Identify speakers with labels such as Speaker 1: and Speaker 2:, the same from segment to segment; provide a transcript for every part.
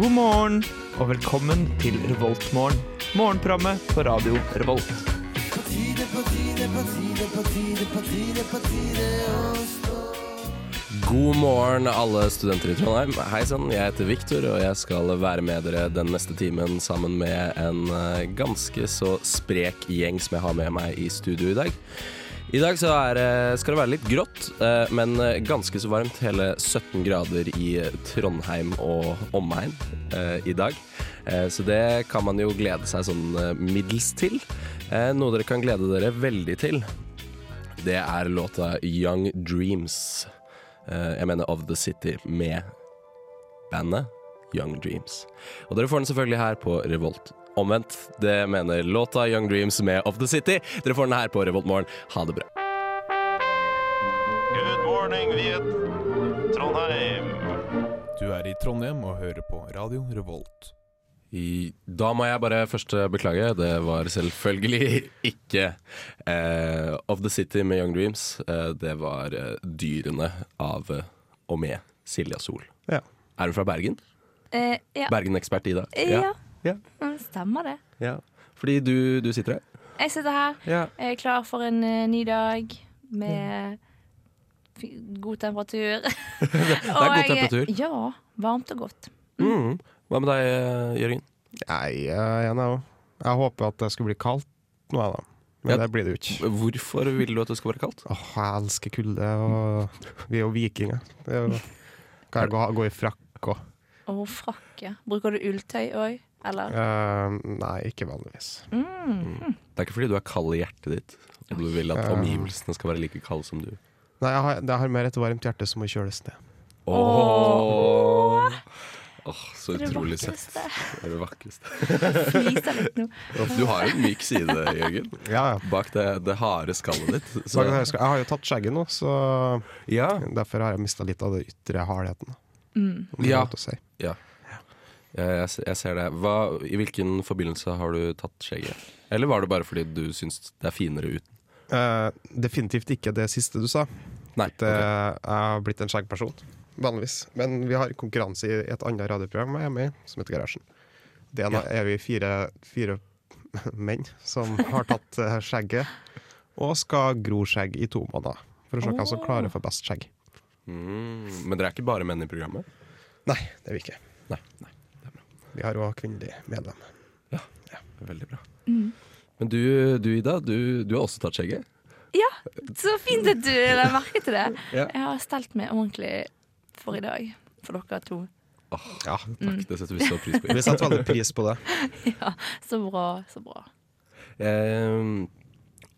Speaker 1: God morgen og velkommen til Revoltmorgen. Morgenprogrammet på radio Revolt.
Speaker 2: God morgen, alle studenter i Trondheim. Hei sann, jeg heter Viktor, og jeg skal være med dere den neste timen sammen med en eh, ganske så sprek gjeng som jeg har med meg i studio i dag. I dag så er, det- skal det være litt grått, eh, men ganske så varmt. Hele 17 grader i Trondheim og omegn eh, i dag. Eh, Så det kan man jo glede seg sånn eh, middels til. Eh, Noe dere kan glede dere veldig til, det er låta 'Young Dreams'. Eh, Jeg mener Of The City med bandet Young Dreams. Og dere får den selvfølgelig her på Revolt. Omvendt, det mener låta Young Dreams med Of The City. Dere får den her på Revolt morgen. Ha det bra.
Speaker 3: Good morning, Viet Trondheim.
Speaker 4: Du er i Trondheim og hører på Radio Revolt.
Speaker 2: I, da må jeg bare først eh, beklage. Det var selvfølgelig ikke eh, Of The City med Young Dreams. Eh, det var eh, Dyrene av eh, og med Silja Sol.
Speaker 1: Ja.
Speaker 2: Er du fra Bergen?
Speaker 5: Eh, ja.
Speaker 2: Bergen-ekspert Ida.
Speaker 5: Eh, ja.
Speaker 1: Ja.
Speaker 5: Mm, Stemmer det.
Speaker 2: ja. Fordi du, du sitter her?
Speaker 5: Jeg sitter her,
Speaker 2: Ja.
Speaker 5: jeg er klar for en eh, ny dag med fi- god temperatur. det
Speaker 2: god temperatur.
Speaker 5: Ja. Varmt og godt.
Speaker 2: Mm. Hva med deg, eh, Jørgen?
Speaker 6: Nei, jeg er jo Jeg håper at det skal bli kaldt nå, jeg, da. Men
Speaker 2: Ja.
Speaker 6: det blir det jo ikke.
Speaker 2: Hvorfor vil du at det skal være kaldt?
Speaker 6: Åh, jeg elsker kulde, og vi er jo vikinger. Det er jo, kan jeg gå, gå i frakk og
Speaker 5: Og frakk, ja. Bruker du ulltøy òg, eller? Mm.
Speaker 6: Eh, Nei, ikke vanligvis.
Speaker 2: Mm. Det er ikke fordi du er kald i hjertet ditt, og du vil at omgivelsene skal være like kalde som du.
Speaker 6: Nei, jeg har, jeg har mer et varmt hjerte som må kjøles ned.
Speaker 2: Åh, Åh, så
Speaker 5: Det er det
Speaker 2: utrolig søtt.
Speaker 5: vakreste.
Speaker 2: Det er det vakreste.
Speaker 5: Fliser litt nå.
Speaker 2: Du har jo en myk side, Jørgen.
Speaker 6: Ja, ja.
Speaker 2: Bak det, det harde skallet ditt.
Speaker 6: Så jeg, jeg har jo tatt skjegget nå, så
Speaker 2: ja.
Speaker 6: derfor har jeg mista litt av det ytre hardheten. da,
Speaker 5: Mm.
Speaker 6: om det er
Speaker 2: Ja.
Speaker 6: lov til å Si.
Speaker 2: Jeg, jeg, se- jeg ser det. Hva, I hvilken forbindelse har du tatt skjegget? Eller var det bare fordi du syns det er finere uten?
Speaker 6: Eh, definitivt ikke det siste du sa.
Speaker 2: Nei.
Speaker 6: at
Speaker 2: ok.
Speaker 6: eh, jeg har blitt en skjeggperson, vanligvis. Men vi har konkurranse i et annet radioprogram jeg er med i, som heter Garasjen. Det er, nå- er vi fire, fire menn som har tatt eh, skjegget, og skal gro skjegg i to måneder. For å se hvem som
Speaker 5: Åh.
Speaker 6: klarer å få best skjegg.
Speaker 2: Mm, men dere er ikke bare menn i programmet?
Speaker 6: Nei, det er vi ikke.
Speaker 2: Nei. Nei.
Speaker 6: Vi har òg kvinnelig medlem.
Speaker 2: Veldig bra.
Speaker 5: Mm.
Speaker 2: Men du, du Ida, du, du har også tatt skjegget?
Speaker 5: Ja, så fint at du la merke til det.
Speaker 2: Ja.
Speaker 5: Jeg har stelt meg ordentlig for i dag. For dere to.
Speaker 6: Ja,
Speaker 5: Mm.
Speaker 2: Takk, det setter vi så pris på.
Speaker 6: Vi setter veldig pris på det.
Speaker 5: Så bra, så bra.
Speaker 2: Ehm,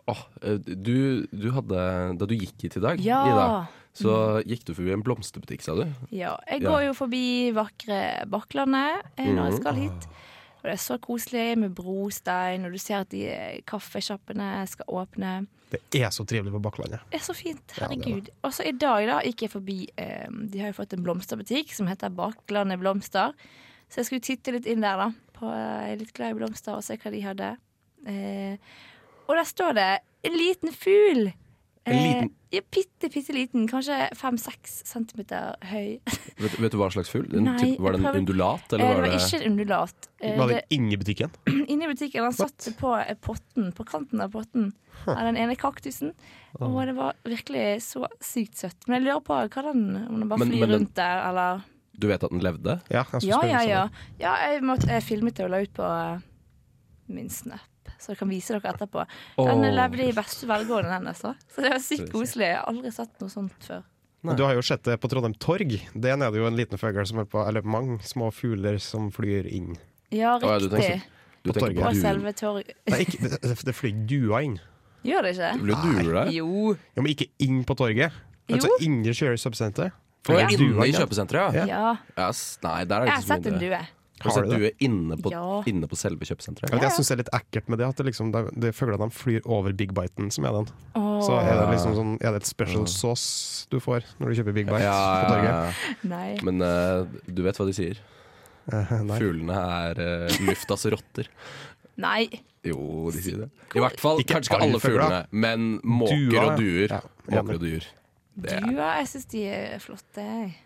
Speaker 2: åh, eh, du, du hadde, da du gikk hit i dag,
Speaker 5: Ja. Mm.
Speaker 2: Ida, så gikk du forbi en blomsterbutikk, sa du?
Speaker 5: Ja, jeg
Speaker 2: Ja.
Speaker 5: går jo forbi vakre Bakklandet eh, når jeg skal hit. Og det er så koselig med brostein, og du ser at de eh, kaffesjappene skal åpne.
Speaker 6: Det er så trivelig på Bakklandet.
Speaker 5: Det er så fint.
Speaker 6: Ja, det er
Speaker 5: Herregud. Og så i dag da gikk jeg forbi eh, De har jo fått en blomsterbutikk som heter Baklandet Blomster. Så jeg skulle titte litt inn der, da. På, eh, jeg er litt glad i blomster, og se hva de hadde. Eh, og der står det en liten fugl.
Speaker 2: En liten?
Speaker 5: Eh, ja, bitte, bitte liten. Kanskje fem-seks centimeter høy.
Speaker 2: Vet, vet du hva slags fugl? En
Speaker 5: Nei,
Speaker 2: type- Var det
Speaker 5: jeg
Speaker 2: en
Speaker 5: prøver-
Speaker 2: undulat?
Speaker 5: Eh,
Speaker 2: Eller var
Speaker 5: det
Speaker 2: det
Speaker 5: var ikke en undulat. Eh,
Speaker 6: Var det inne i butikken?
Speaker 5: det- Inne i butikken. Han satt på eh, potten, på kanten av potten av den ene kaktusen. Og det var virkelig så sykt søtt. Men jeg lurer på hva den, om den bare
Speaker 2: Men-
Speaker 5: flyr
Speaker 2: men den-
Speaker 5: rundt der, eller
Speaker 2: Du vet at den levde?
Speaker 6: Ja, jeg skulle
Speaker 5: Ja,
Speaker 6: spørre
Speaker 5: ja,
Speaker 6: om
Speaker 5: ja.
Speaker 6: sånn.
Speaker 5: ja jeg, måtte, jeg filmet det og la ut på eh, min snap. Så jeg kan vise dere etterpå. Den
Speaker 2: Åh.
Speaker 5: levde i beste velgående, den. Altså. Så det var sykt koselig. Jeg har aldri sett noe sånt før.
Speaker 2: Nei.
Speaker 6: Du har jo sett det på Trondheim Torg. Der nede er det jo en liten fugl som er på Eller mange små fugler som flyr inn.
Speaker 5: Ja,
Speaker 2: Å, ja, du
Speaker 5: riktig.
Speaker 2: tenker- Du
Speaker 6: På
Speaker 2: tenker
Speaker 6: torget.
Speaker 5: På
Speaker 2: på du,
Speaker 5: selve torget.
Speaker 6: Nei, ikke, det, det- det flyr duer inn.
Speaker 5: Gjør det ikke?
Speaker 2: ble duer der?
Speaker 5: Jo.
Speaker 6: Ja, men ikke inn på torget. Altså
Speaker 5: Jo.
Speaker 6: inni kjører kjøpesenteret.
Speaker 2: Å,
Speaker 6: Ja.
Speaker 2: Inne i kjøpesenteret, ja?
Speaker 5: Ja.
Speaker 2: Yes, nei, der er
Speaker 5: Jeg
Speaker 2: det
Speaker 5: har
Speaker 2: ikke så
Speaker 5: sett en
Speaker 2: mye due.
Speaker 5: due.
Speaker 2: Har du sett
Speaker 6: Har du
Speaker 2: due inne på,
Speaker 5: Ja.
Speaker 2: inne på selve kjøpesenteret?
Speaker 6: Jeg syns det er litt ekkelt med det, at det liksom, de, de fuglene de flyr over Big Biten, som er den.
Speaker 5: Åh,
Speaker 6: Så er det liksom sånn, er det et special sauce du får når du kjøper Big Bite på
Speaker 2: Ja,
Speaker 6: torget?
Speaker 2: ja, ja.
Speaker 5: nei.
Speaker 2: men eh, du vet hva de sier.
Speaker 6: Eh, Nei.
Speaker 2: Fuglene er eh, luftas rotter.
Speaker 5: nei.
Speaker 2: Jo, de sier det. I hvert fall,
Speaker 6: Ikke
Speaker 2: kanskje ikke
Speaker 6: alle
Speaker 2: alle fuglene, men måker
Speaker 6: Duer,
Speaker 2: og duer.
Speaker 6: ja.
Speaker 2: Måker og duer. Det er-
Speaker 5: Duer, jeg syns de er flotte. jeg.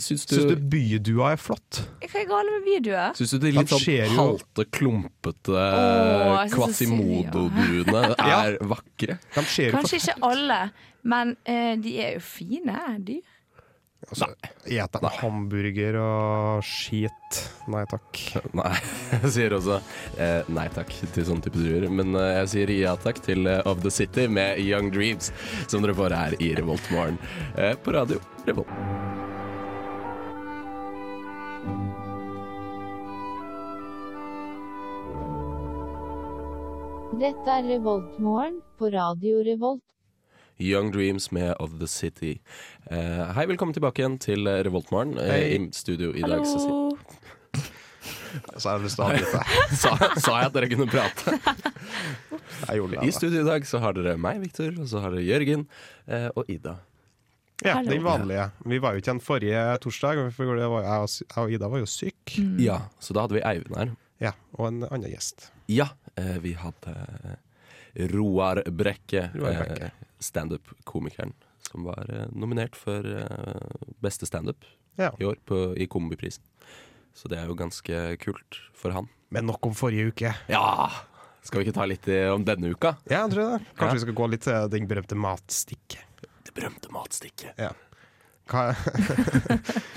Speaker 2: Syns
Speaker 7: Syns du
Speaker 2: du
Speaker 7: bydua er flott?
Speaker 5: Hva er galt med videoer?
Speaker 2: Syns du de litt
Speaker 7: Han ser
Speaker 2: sånn
Speaker 7: jo-
Speaker 2: halte, klumpete
Speaker 5: Åh, jeg synes det ser-
Speaker 2: Quasimodo-druene er vakre?
Speaker 7: De ser jo
Speaker 5: Kanskje ikke alle, men eh, de er jo fine dyr.
Speaker 6: Altså, et de hamburger og skit? Nei takk.
Speaker 2: Nei, jeg sier også eh, nei takk til sånne type druer. Men eh, jeg sier ja takk til eh, Of The City med Young Dreams, som dere får her i Revolt Morgen eh, på radio Revolt.
Speaker 8: Dette er Revoltmorgen på Radio Revolt.
Speaker 2: Young Dreams med Of The City. Eh, hei, velkommen tilbake igjen til eh, Revoltmorgen. Eh,
Speaker 6: Hei.
Speaker 2: I studio i dag så,
Speaker 5: Hallo.
Speaker 6: Så jeg har lyst til å avbryte.
Speaker 2: sa, sa jeg at dere kunne prate.
Speaker 6: Jeg gjorde
Speaker 2: I
Speaker 6: det. altså. da.
Speaker 2: studio i dag så har dere meg, Victor, og så har dere Jørgen eh, og Ida.
Speaker 6: Ja,
Speaker 5: Hallo.
Speaker 6: den vanlige. Vi var jo ikke igjen forrige torsdag, for det var, jeg, og, sy- jeg og Ida var jo syk
Speaker 2: Ja, Så da hadde vi Eivind her.
Speaker 6: Ja, og en annen gjest.
Speaker 2: Ja, eh, vi hadde eh, Roar Brekke,
Speaker 6: Roar Brekke.
Speaker 2: eh, standup-komikeren, som var eh, nominert for eh, beste standup
Speaker 6: Ja.
Speaker 2: i år på, i Kombiprisen. Så det er jo ganske kult for han.
Speaker 6: Men nok om forrige uke.
Speaker 2: Ja! Skal vi ikke ta litt eh, om denne uka?
Speaker 6: Ja, jeg tror det. Kanskje
Speaker 2: Ja.
Speaker 6: vi skal gå litt til den berømte matstikket.
Speaker 2: Det berømte matstikket.
Speaker 6: Hva,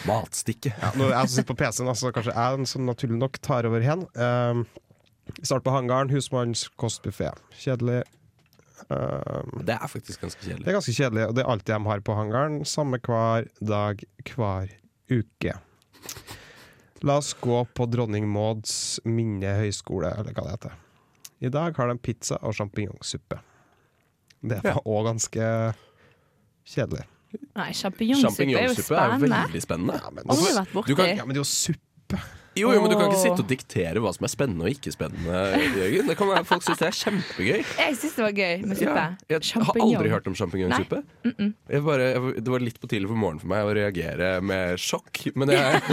Speaker 2: Matstikket.
Speaker 6: ja, nå er jeg som sitter på PC-en, altså, kanskje jeg som naturlig nok tar over hen. Um, start på hangaren, husmannskostbuffé. Kjedelig. Um,
Speaker 2: Det er faktisk ganske
Speaker 6: det
Speaker 2: kjedelig.
Speaker 6: er ganske kjedelig, og det er alt de har på hangaren. Samme hver dag, hver uke. La oss gå på Dronning Mauds minnehøgskole, eller hva det heter. I dag har de pizza og sjampinjongsuppe. Det var òg ganske kjedelig.
Speaker 5: Nei, sjampinjongsuppe er jo
Speaker 2: Sjampinjongsuppe er
Speaker 5: spennende.
Speaker 2: veldig spennende.
Speaker 6: Ja, men,
Speaker 5: Aldri vært
Speaker 2: altså, Du
Speaker 5: borti.
Speaker 2: kan-
Speaker 6: ja, men det er jo suppe.
Speaker 2: Jo, jo, men du kan ikke
Speaker 5: Åh.
Speaker 2: sitte og diktere hva som er spennende og ikke spennende, Jørgen. Det kan være Folk syns det er kjempegøy.
Speaker 5: Jeg syns det var gøy med suppe.
Speaker 2: Ja, jeg har
Speaker 5: Champignon.
Speaker 2: aldri hørt om sjampinjongsuppe. Jeg bare- jeg- Det var litt på tidlig for morgenen for meg å reagere med sjokk. Men, jeg,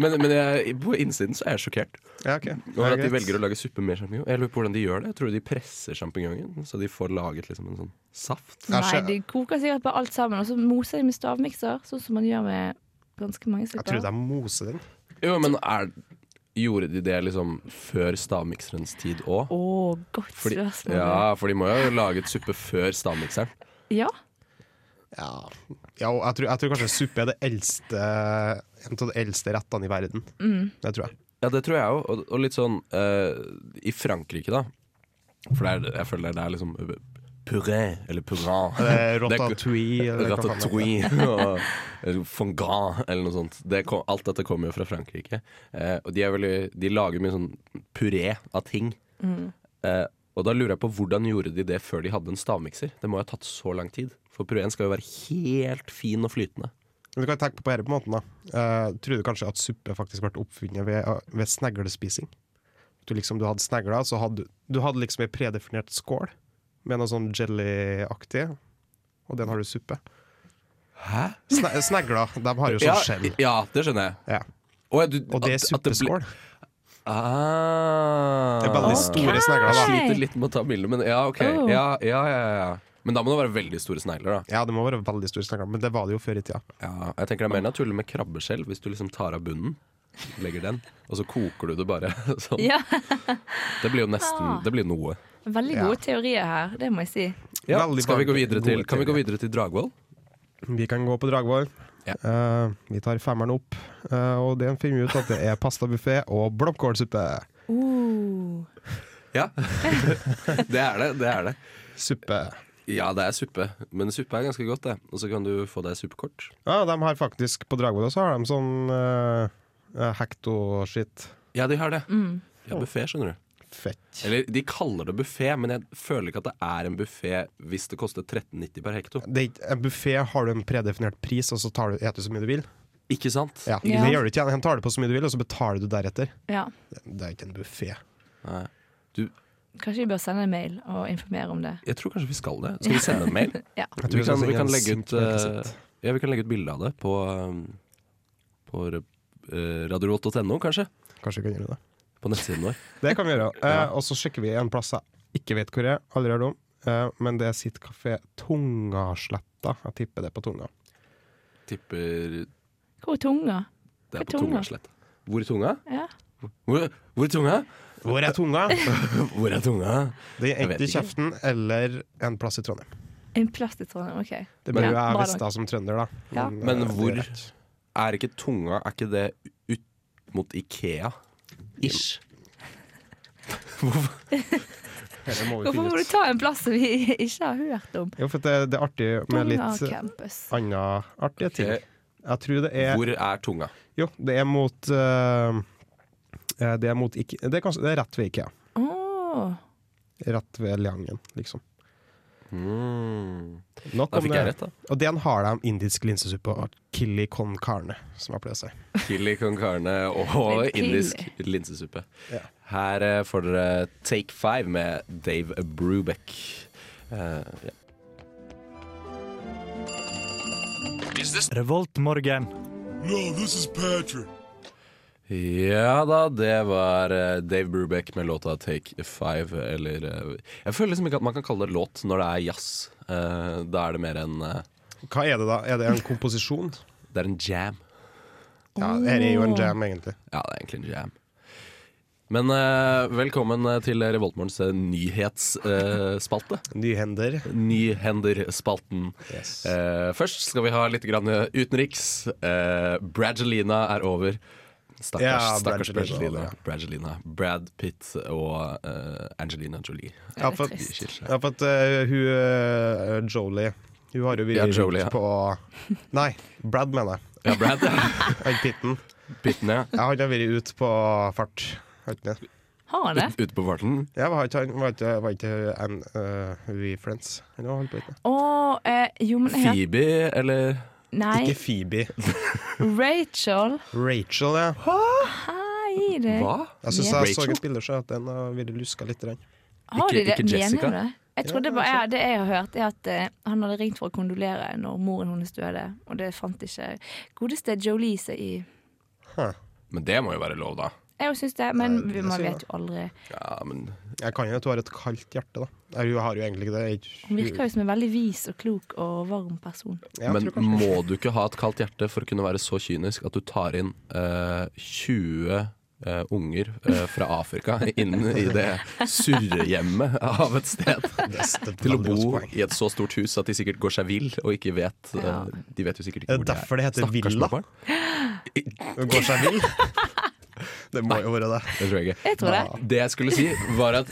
Speaker 2: men, men jeg, på innsiden så er jeg sjokkert
Speaker 6: Ja, ok.
Speaker 2: over at de velger å lage suppe med sjampinjong. Jeg lurer på hvordan de gjør det. Jeg tror de presser sjampinjongen, så de får laget liksom en sånn saft.
Speaker 5: Nei,
Speaker 6: Jeg
Speaker 5: de koker sikkert bare alt sammen, og så moser de med stavmikser, sånn som man gjør med ganske mange
Speaker 6: Jeg
Speaker 5: supper.
Speaker 6: trodde jeg moser den.
Speaker 2: Jo, men er, gjorde de det liksom før stavmikserens tid òg?
Speaker 5: Å, godt
Speaker 2: Fordi,
Speaker 5: spørsmål.
Speaker 2: ja, for de må jo ha laget suppe før stavmikseren.
Speaker 5: Ja.
Speaker 6: Ja, ja og jeg, tror, jeg tror kanskje suppe er det eldste en av de eldste rettene i verden. Det tror jeg.
Speaker 2: Ja, det tror jeg òg. Og, og litt sånn eh, I Frankrike, da. For det er, jeg føler det er liksom puré eller purin.
Speaker 6: Eh,
Speaker 2: Det er-
Speaker 6: Ratatouille. eller hva faen det heter.
Speaker 2: Ratatouille og eller fondant eller noe sånt. Det kom, alt dette kommer jo fra Frankrike. Eh, og de, er veldig, de lager mye sånn puré av ting. Eh, og da lurer jeg på hvordan gjorde de det før de hadde en stavmikser? Det må jo ha tatt så lang tid. For puréen skal jo være helt fin og flytende.
Speaker 6: Men du kan tenke på dette på måten, da. Eh, tror du kanskje at suppe faktisk ble oppfunnet ved, eh, ved sneglespising? Du, liksom, du hadde snegler, så hadde du- du hadde liksom ei predefinert skål med noe sånn jellyaktig, og den har du suppe.
Speaker 2: Hæ?
Speaker 6: Sne snegler, de har jo
Speaker 2: Ja,
Speaker 6: sånn skjell.
Speaker 2: ja, det skjønner jeg.
Speaker 6: Ja.
Speaker 2: Å, ja, du,
Speaker 6: Og det er
Speaker 2: at- at ble-
Speaker 6: suppeskål.
Speaker 2: Ah.
Speaker 6: Det er veldig store snegler,
Speaker 2: Jeg
Speaker 6: da.
Speaker 2: sliter litt med å ta bilde, men ja, ok.
Speaker 5: Oh.
Speaker 2: Ja, ja, ja, ja. Men da må det være veldig store snegler, da.
Speaker 6: Ja, det må være veldig store snegler, men det var det jo før i tida.
Speaker 2: Ja, jeg tenker Det er mer naturlig med krabbeskjell, hvis du liksom tar av bunnen. Legger den, og så koker du det bare sånn.
Speaker 5: ja. Ah.
Speaker 2: Det blir jo nesten Det blir noe.
Speaker 5: Veldig gode teorier her, det må jeg si.
Speaker 2: Ja,
Speaker 6: Veldig
Speaker 2: skal vi gå
Speaker 6: varmt.
Speaker 2: videre til,
Speaker 6: Gode
Speaker 2: kan vi gå
Speaker 6: teorier.
Speaker 2: videre til Dragvoll?
Speaker 6: Vi kan gå på Dragvoll.
Speaker 2: Ja.
Speaker 6: Eh, vi tar femmeren opp, eh, og den finner vi ut at det er pastabuffé og blomkålsuppe.
Speaker 5: Uh.
Speaker 2: Ja. det er det. det er det
Speaker 6: Suppe.
Speaker 2: Ja, det er suppe, men suppe er ganske godt, det. Og så kan du få deg suppekort.
Speaker 6: Ja, de har faktisk på Dragvoll også har de sånn uh, hekto-shit.
Speaker 2: Ja, de har det.
Speaker 5: Mm.
Speaker 2: De har buffé, skjønner du.
Speaker 6: Fett.
Speaker 2: Eller de kaller det buffé, men jeg føler ikke at det er en buffé hvis det koster 13,90 per hekto.
Speaker 6: Det, er ikke- en buffé har du en predefinert pris, og så tar du, eter du så mye du vil.
Speaker 2: Ikke sant?
Speaker 6: Ja,
Speaker 5: Ja.
Speaker 6: Det gjør du ikke. Han tar det på så mye du vil, og så betaler du deretter.
Speaker 5: Ja.
Speaker 6: Det, det er ikke en buffé.
Speaker 2: Nei.
Speaker 5: Kanskje vi bør sende en mail og informere om det.
Speaker 2: Jeg tror kanskje vi skal det. Skal vi sende en mail?
Speaker 5: Ja.
Speaker 6: Jeg tror
Speaker 2: Vi
Speaker 6: jeg
Speaker 2: kan,
Speaker 6: skal
Speaker 2: vi
Speaker 6: sende
Speaker 2: kan
Speaker 6: en
Speaker 2: legge ut
Speaker 6: simpel
Speaker 2: eh,
Speaker 6: kassett.
Speaker 2: Ja, vi kan legge ut bilde av det på, um, på eh, radiorolt.no, kanskje?
Speaker 6: Kanskje vi kan gjøre det.
Speaker 2: På nettsiden vår.
Speaker 6: Det kan vi gjøre. Eh, og så sjekker vi en plass jeg ikke vet hvor jeg er, aldri hørt om. Eh, men det er sitt kafé Tungasletta. Jeg tipper det på tunga.
Speaker 2: Tipper
Speaker 5: Hvor er tunga?
Speaker 2: Det er
Speaker 5: Hvor
Speaker 2: på
Speaker 5: tunga?
Speaker 2: tungaslett. Hvor er tunga?
Speaker 5: Ja.
Speaker 2: Hvor, hvor er tunga?
Speaker 6: Hvor er tunga?
Speaker 2: Hvor er tunga?
Speaker 6: Det er
Speaker 2: Jeg vet
Speaker 6: enten i
Speaker 2: ikke.
Speaker 6: kjeften eller en plass i Trondheim.
Speaker 5: En plass i Trondheim, OK.
Speaker 6: Det burde
Speaker 5: Ja,
Speaker 6: jo jeg
Speaker 5: bare
Speaker 6: visst da som trønder, da.
Speaker 5: Ja.
Speaker 6: eh,
Speaker 2: Men
Speaker 6: det er
Speaker 2: hvor-
Speaker 6: rett.
Speaker 2: Er ikke tunga Er ikke det ut mot Ikea? Ish.
Speaker 6: Det må vi
Speaker 5: Hvorfor
Speaker 6: finne
Speaker 5: må du
Speaker 6: ut.
Speaker 5: ta en plass vi ikke har hørt om?
Speaker 6: Jo, for det, det er artig med
Speaker 5: Tunga
Speaker 6: litt eh,
Speaker 5: campus.
Speaker 6: anna artige ting.
Speaker 2: Ok.
Speaker 6: Jeg tror det er
Speaker 2: Hvor er tunga?
Speaker 6: Jo, det er mot eh, eh, Det er mot ikke Det er, kanskje, det er rett ved IKEA.
Speaker 5: Åh.
Speaker 6: Rett ved Leangen, liksom.
Speaker 2: Mm.
Speaker 6: Nok
Speaker 2: Da
Speaker 6: om
Speaker 2: fikk
Speaker 6: det.
Speaker 2: jeg rett, da.
Speaker 6: Og den har de indisk linsesuppe og chili con carne, som jeg pleier å si.
Speaker 2: Chili con carne og
Speaker 5: Litt chili.
Speaker 2: indisk linsesuppe.
Speaker 6: Ja.
Speaker 2: Her eh, får dere Take Five med Dave Brubeck. Eh, ja.
Speaker 1: Revoltmorgen.
Speaker 2: ja da, det var eh, Dave Brubeck med låta Take Five, eller eh, Jeg føler liksom ikke at man kan kalle det låt når det er jazz. Eh, da er det mer en eh,
Speaker 6: Hva er det da? Er det en komposisjon?
Speaker 2: Det er en jam.
Speaker 6: Ja, dette er jo en jam, egentlig.
Speaker 2: Ja, det er egentlig en jam. Men eh, velkommen til Revoltmorgens eh, nyhetsspalte.
Speaker 6: Nyhender.
Speaker 2: Nyhenderspalten.
Speaker 6: Yes.
Speaker 2: Eh, først skal vi ha litt grann utenriks. Eh, Bragelina er over. Stakkars,
Speaker 6: Ja,
Speaker 2: stakkars
Speaker 6: Bragelina,
Speaker 2: Bragelina. Bragelina. Brad Pitt og eh, Angelina Jolie.
Speaker 6: Ja,
Speaker 5: det er
Speaker 6: for,
Speaker 5: trist.
Speaker 2: De skiller seg.
Speaker 6: ja, for at eh, hun eh, Jolie Hun har jo vært
Speaker 2: Ja, Jolie, ja.
Speaker 6: rundt på Nei, Brad, mener jeg.
Speaker 2: Ja, Brad
Speaker 6: Han Pitten.
Speaker 2: Pitten, ja.
Speaker 6: Ja, han har vært ute på fart. Har ikke det?
Speaker 5: Har han det?
Speaker 2: Ut, ute på farten.
Speaker 6: Ja, var ikke han var ikke, var ikke en, eh, We Friends? Eller hva holdt på med?
Speaker 5: Å, eh, jo, men jeg
Speaker 2: Phoebe, eller
Speaker 5: Nei,
Speaker 6: Ikke Phoebe.
Speaker 5: Rachel.
Speaker 6: Rachel, ja.
Speaker 5: Hei, det.
Speaker 2: hva?
Speaker 6: Jeg syns
Speaker 2: Ja.
Speaker 6: jeg så
Speaker 2: Rachel?
Speaker 6: et bilde så at den har vært luska litt. grann.
Speaker 5: Har de
Speaker 2: Ikke-
Speaker 5: det?
Speaker 2: ikke Jessica?
Speaker 5: Mener du det? Jeg trodde bare, jeg, Det jeg har hørt, er at eh, han hadde ringt for å kondolere når moren hennes døde, og det fant ikke godeste Jolie seg i.
Speaker 2: Men det må jo være lov, da.
Speaker 5: Jeg jo syns det, men
Speaker 6: Nei, det
Speaker 5: man
Speaker 6: sier jeg.
Speaker 5: vet jo aldri.
Speaker 2: Ja, men
Speaker 6: Jeg kan jo at hun har et kaldt hjerte, da. Nei, Hun har jo egentlig ikke det. Jeg-
Speaker 5: Hun virker jo som en veldig vis og klok og varm person.
Speaker 6: Ja,
Speaker 2: Men må du ikke ha et kaldt hjerte for å kunne være så kynisk at du tar inn eh, 20 eh, unger eh, fra Afrika inn i det surrehjemmet av et sted? Til å bo i et så stort hus at de sikkert går seg vill og ikke vet eh,
Speaker 5: Ja.
Speaker 2: De vet jo sikkert ikke
Speaker 6: Det er
Speaker 2: hvor de
Speaker 6: derfor
Speaker 2: er.
Speaker 6: det heter
Speaker 2: Stakkars
Speaker 6: villa.
Speaker 2: småbarn.
Speaker 6: Hun går seg vill. Det må jo være det.
Speaker 2: Det tror jeg ikke.
Speaker 5: Jeg tror det.
Speaker 2: Det jeg skulle si, var at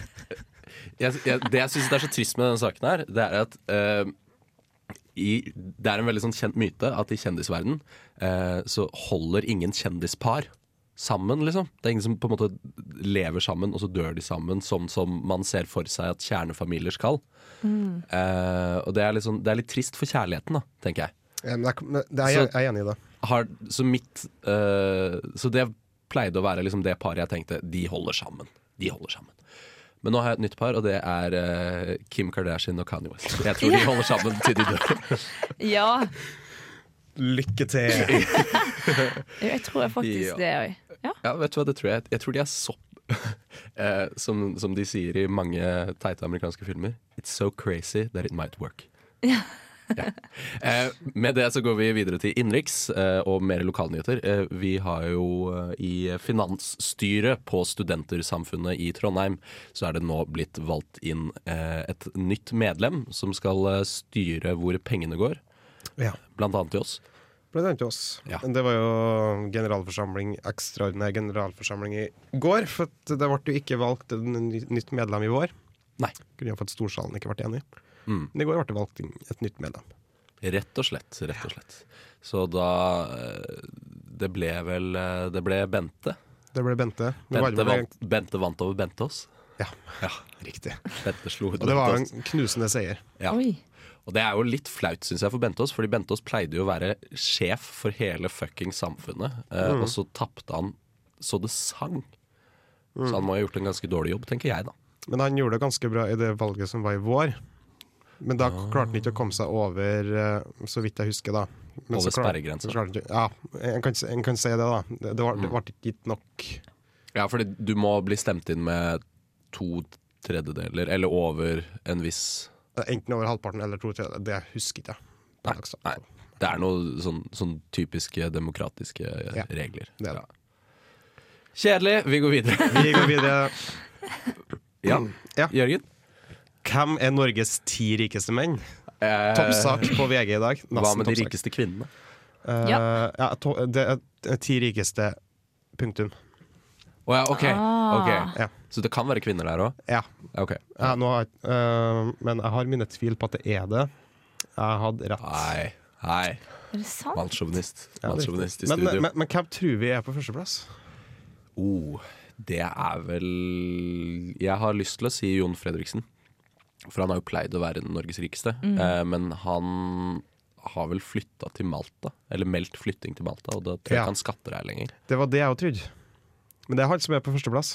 Speaker 2: jeg, jeg, Det jeg syns er så trist med denne saken her, det er at eh, i, det er en veldig sånn kjent myte at i kjendisverden eh, så holder ingen kjendispar sammen, liksom. Det er ingen som på en måte lever sammen, og så dør de sammen, sånn som man ser for seg at kjernefamilier skal.
Speaker 5: Mm.
Speaker 2: Eh, og det er, litt sånn, det er litt trist for kjærligheten, da, tenker jeg.
Speaker 6: Ja, men jeg, men det er, jeg, jeg er enig i det.
Speaker 2: Har, så mitt eh, Så det pleide å være liksom det paret jeg tenkte De holder sammen. De holder sammen. Men nå har jeg et nytt par, og det er eh, Kim Kardashian og Kanye West. Jeg tror de holder sammen til de dør.
Speaker 5: Ja,
Speaker 6: Lykke til!
Speaker 5: jo, jeg tror faktisk
Speaker 2: Ja.
Speaker 5: det òg. Ja.
Speaker 2: Ja, vet du hva, det tror jeg. Jeg tror de er sopp. Eh, som, som de sier i mange teite amerikanske filmer. It's so crazy that it might work. Ja. Eh, med det så går vi videre til innenriks eh, og mer lokalnyheter. Eh, vi har jo eh, i finansstyret på Studentersamfunnet i Trondheim, så er det nå blitt valgt inn eh, et nytt medlem som skal eh, styre hvor pengene går,
Speaker 6: Ja.
Speaker 2: blant annet til oss.
Speaker 6: Blant annet til oss.
Speaker 2: Ja.
Speaker 6: Men Det var jo generalforsamling, ekstraordinær generalforsamling i går. For at det ble jo ikke valgt en ny- nytt medlem i vår.
Speaker 2: Nei.
Speaker 6: Kunne jo for at storsalen ikke ble enig.
Speaker 2: Mm.
Speaker 6: Men i går ble det valgt inn et nytt medlem.
Speaker 2: Rett og slett, rett og slett. Så da eh, Det ble vel eh, Det ble Bente.
Speaker 6: Det ble Bente. Det var
Speaker 2: Bente
Speaker 6: vel-
Speaker 2: vant, Bente vant over Bente oss.
Speaker 6: Ja,
Speaker 2: Ja,
Speaker 6: riktig.
Speaker 2: Bente slo ut
Speaker 6: Og det var jo
Speaker 2: Bente Aas.
Speaker 6: en knusende seier.
Speaker 2: Ja.
Speaker 5: Oi.
Speaker 2: Og det er jo litt flaut, syns jeg, for Bente oss. Fordi Bente oss pleide jo å være sjef for hele fuckings samfunnet. eh,
Speaker 6: Mm.
Speaker 2: Og så tapte han så det sang. Så
Speaker 6: Mm.
Speaker 2: han må ha gjort en ganske dårlig jobb, tenker jeg, da.
Speaker 6: Men han gjorde det ganske bra i det valget som var i vår. Men da
Speaker 2: Ah.
Speaker 6: klarte han ikke å komme seg over, eh, så vidt jeg husker, da. Men
Speaker 2: Over
Speaker 6: så klarte-
Speaker 2: sperregrensen. Mm.
Speaker 6: så klarte han ikke- Ja, en kan, si- en kan si det, da. Det, det, var, det ble ikke gitt nok.
Speaker 2: Ja, fordi du må bli stemt inn med to tredjedeler, eller over en viss
Speaker 6: Enten over halvparten eller to tredjedeler. Det husker ikke jeg.
Speaker 2: Nei, nei. Det er noen sånn, sånn typiske demokratiske eh,
Speaker 6: Ja,
Speaker 2: regler.
Speaker 6: det er det.
Speaker 2: Ja. Kjedelig. Vi går videre.
Speaker 6: Vi går videre.
Speaker 2: Ja.
Speaker 6: Ja.
Speaker 2: Jørgen?
Speaker 6: Hvem er Norges ti rikeste menn?
Speaker 2: Eh,
Speaker 6: Toppsak på VG i dag.
Speaker 2: Hva med de
Speaker 6: Nesten toppsak.
Speaker 2: rikeste kvinnene?
Speaker 6: Eh, ja. to, det er ti rikeste. Punktum.
Speaker 2: Å ja, ok.
Speaker 5: Ah.
Speaker 2: ok.
Speaker 6: Ja.
Speaker 2: Så det kan være kvinner der òg?
Speaker 6: Ja.
Speaker 2: Ok.
Speaker 6: Jeg, nå har, jeg- eh, men jeg har mine tvil på at det er det. Jeg hadde rett.
Speaker 2: Nei. Nei.
Speaker 5: Er det sant?
Speaker 2: Mannssjåvinist.
Speaker 6: Ja, det er
Speaker 2: Mannssjåvinist i
Speaker 6: riktig. men,
Speaker 2: studio.
Speaker 6: men, men hvem tror vi er på førsteplass?
Speaker 2: Oh, det er vel Jeg har lyst til å si Jon Fredriksen. For han har jo pleid å være Norges rikeste. Eh, men han har vel flytta til Malta. Eller meldt flytting til Malta, og da tror jeg
Speaker 6: Ja.
Speaker 2: ikke han skatter her lenger.
Speaker 6: Det var det jeg også trodde. Men det er han som er på førsteplass.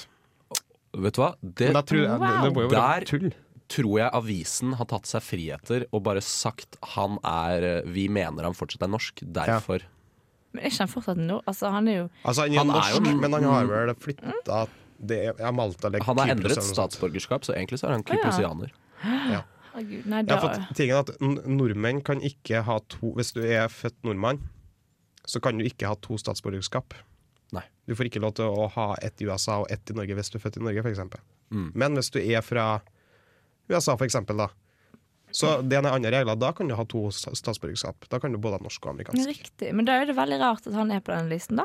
Speaker 2: Vet du hva? Det
Speaker 6: Men jeg tror, det, det må jo
Speaker 2: Der-
Speaker 6: være tull.
Speaker 2: tror jeg avisen har tatt seg friheter og bare sagt han er eh, Vi mener han fortsatt er norsk, derfor.
Speaker 5: Men er ikke han fortsatt nå? Altså, han er jo
Speaker 6: Altså, han er,
Speaker 2: Han er
Speaker 6: norsk,
Speaker 2: jo-
Speaker 6: men han har vel flytta det er ja, Malta eller
Speaker 2: Han har
Speaker 6: Kypros eller
Speaker 2: endret
Speaker 6: noe sånt.
Speaker 2: statsborgerskap, så egentlig så er han
Speaker 5: ja.
Speaker 2: kyprosianer.
Speaker 5: Herregud, nei,
Speaker 6: Jeg
Speaker 5: da
Speaker 6: har fått tingen at n- nordmenn kan ikke ha to Hvis du er født nordmann, så kan du ikke ha to statsborgerskap.
Speaker 2: Nei.
Speaker 6: Du får ikke lov til å ha ett i USA og ett i Norge hvis du er født i Norge, f.eks.
Speaker 2: Mm.
Speaker 6: Men hvis du er fra USA, f.eks., da, så
Speaker 2: Mm.
Speaker 6: det er en annen regler. Da kan du ha to sta- statsborgerskap. Da kan du både ha norsk og
Speaker 5: Men
Speaker 6: amerikansk.
Speaker 5: Riktig. Men da er det veldig rart at han er på den listen, da.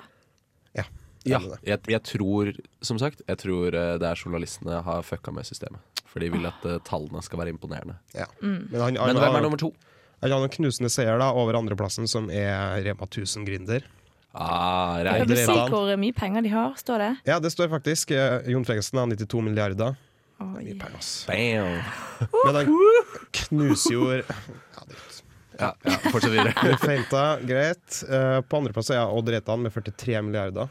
Speaker 6: Ja,
Speaker 2: Ja,
Speaker 6: enig i det.
Speaker 2: jeg, jeg tror, som sagt, jeg tror eh, det er journalistene har fucka med systemet. For de vil at eh, tallene skal være imponerende.
Speaker 6: ja. Men han, han,
Speaker 2: Men hvem
Speaker 6: har,
Speaker 2: er nummer to?
Speaker 6: han har noen knusende seier da, over andreplassen, som er Rema 1000-gründer.
Speaker 2: Ah,
Speaker 5: Kan
Speaker 2: Reidar
Speaker 5: du si
Speaker 2: Reitan.
Speaker 5: hvor mye penger de har? Står det?
Speaker 6: Ja, det står faktisk. eh, Jon Fredriksen har 92 milliarder.
Speaker 5: Oi.
Speaker 6: Mye penger, ass.
Speaker 2: Bam!
Speaker 6: Men han knuser jo Ja, det
Speaker 2: Ja, ja, fortsett videre.
Speaker 6: er feinta, greit. Eh, På andreplass er Odd Reitan med 43 milliarder.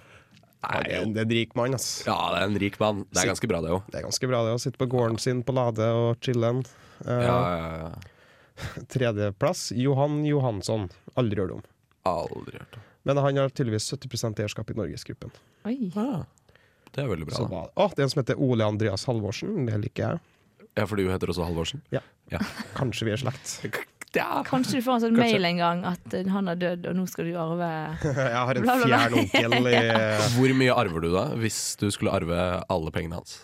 Speaker 6: Ja, Det er- det er en rik mann, ass.
Speaker 2: Ja, det er en rik mann. Det er ganske bra, det òg.
Speaker 6: Det er ganske bra det å sitte på gården sin på Lade og chille'n. Eh,
Speaker 2: Ja, ja, ja.
Speaker 6: Tredjeplass Johan Johansson. Aldri hørt om.
Speaker 2: Aldri hørt om.
Speaker 6: Men han har tydeligvis 70 eierskap i Norgesgruppen.
Speaker 5: Oi.
Speaker 2: Ah, det er veldig bra.
Speaker 6: Så
Speaker 2: da.
Speaker 6: hva- Å, det er en som heter Ole Andreas Halvorsen. Det liker jeg.
Speaker 2: Ja, For du heter også Halvorsen?
Speaker 6: Ja.
Speaker 2: Ja.
Speaker 6: Kanskje vi er slekt.
Speaker 2: Ja.
Speaker 5: Kanskje du får en sånn mail en gang at eh, han er død, og nå skal du arve
Speaker 6: Jeg har en
Speaker 5: Bla, bla, bla.
Speaker 6: fjern onkel i
Speaker 2: Hvor mye arver du da, hvis du skulle arve alle pengene hans?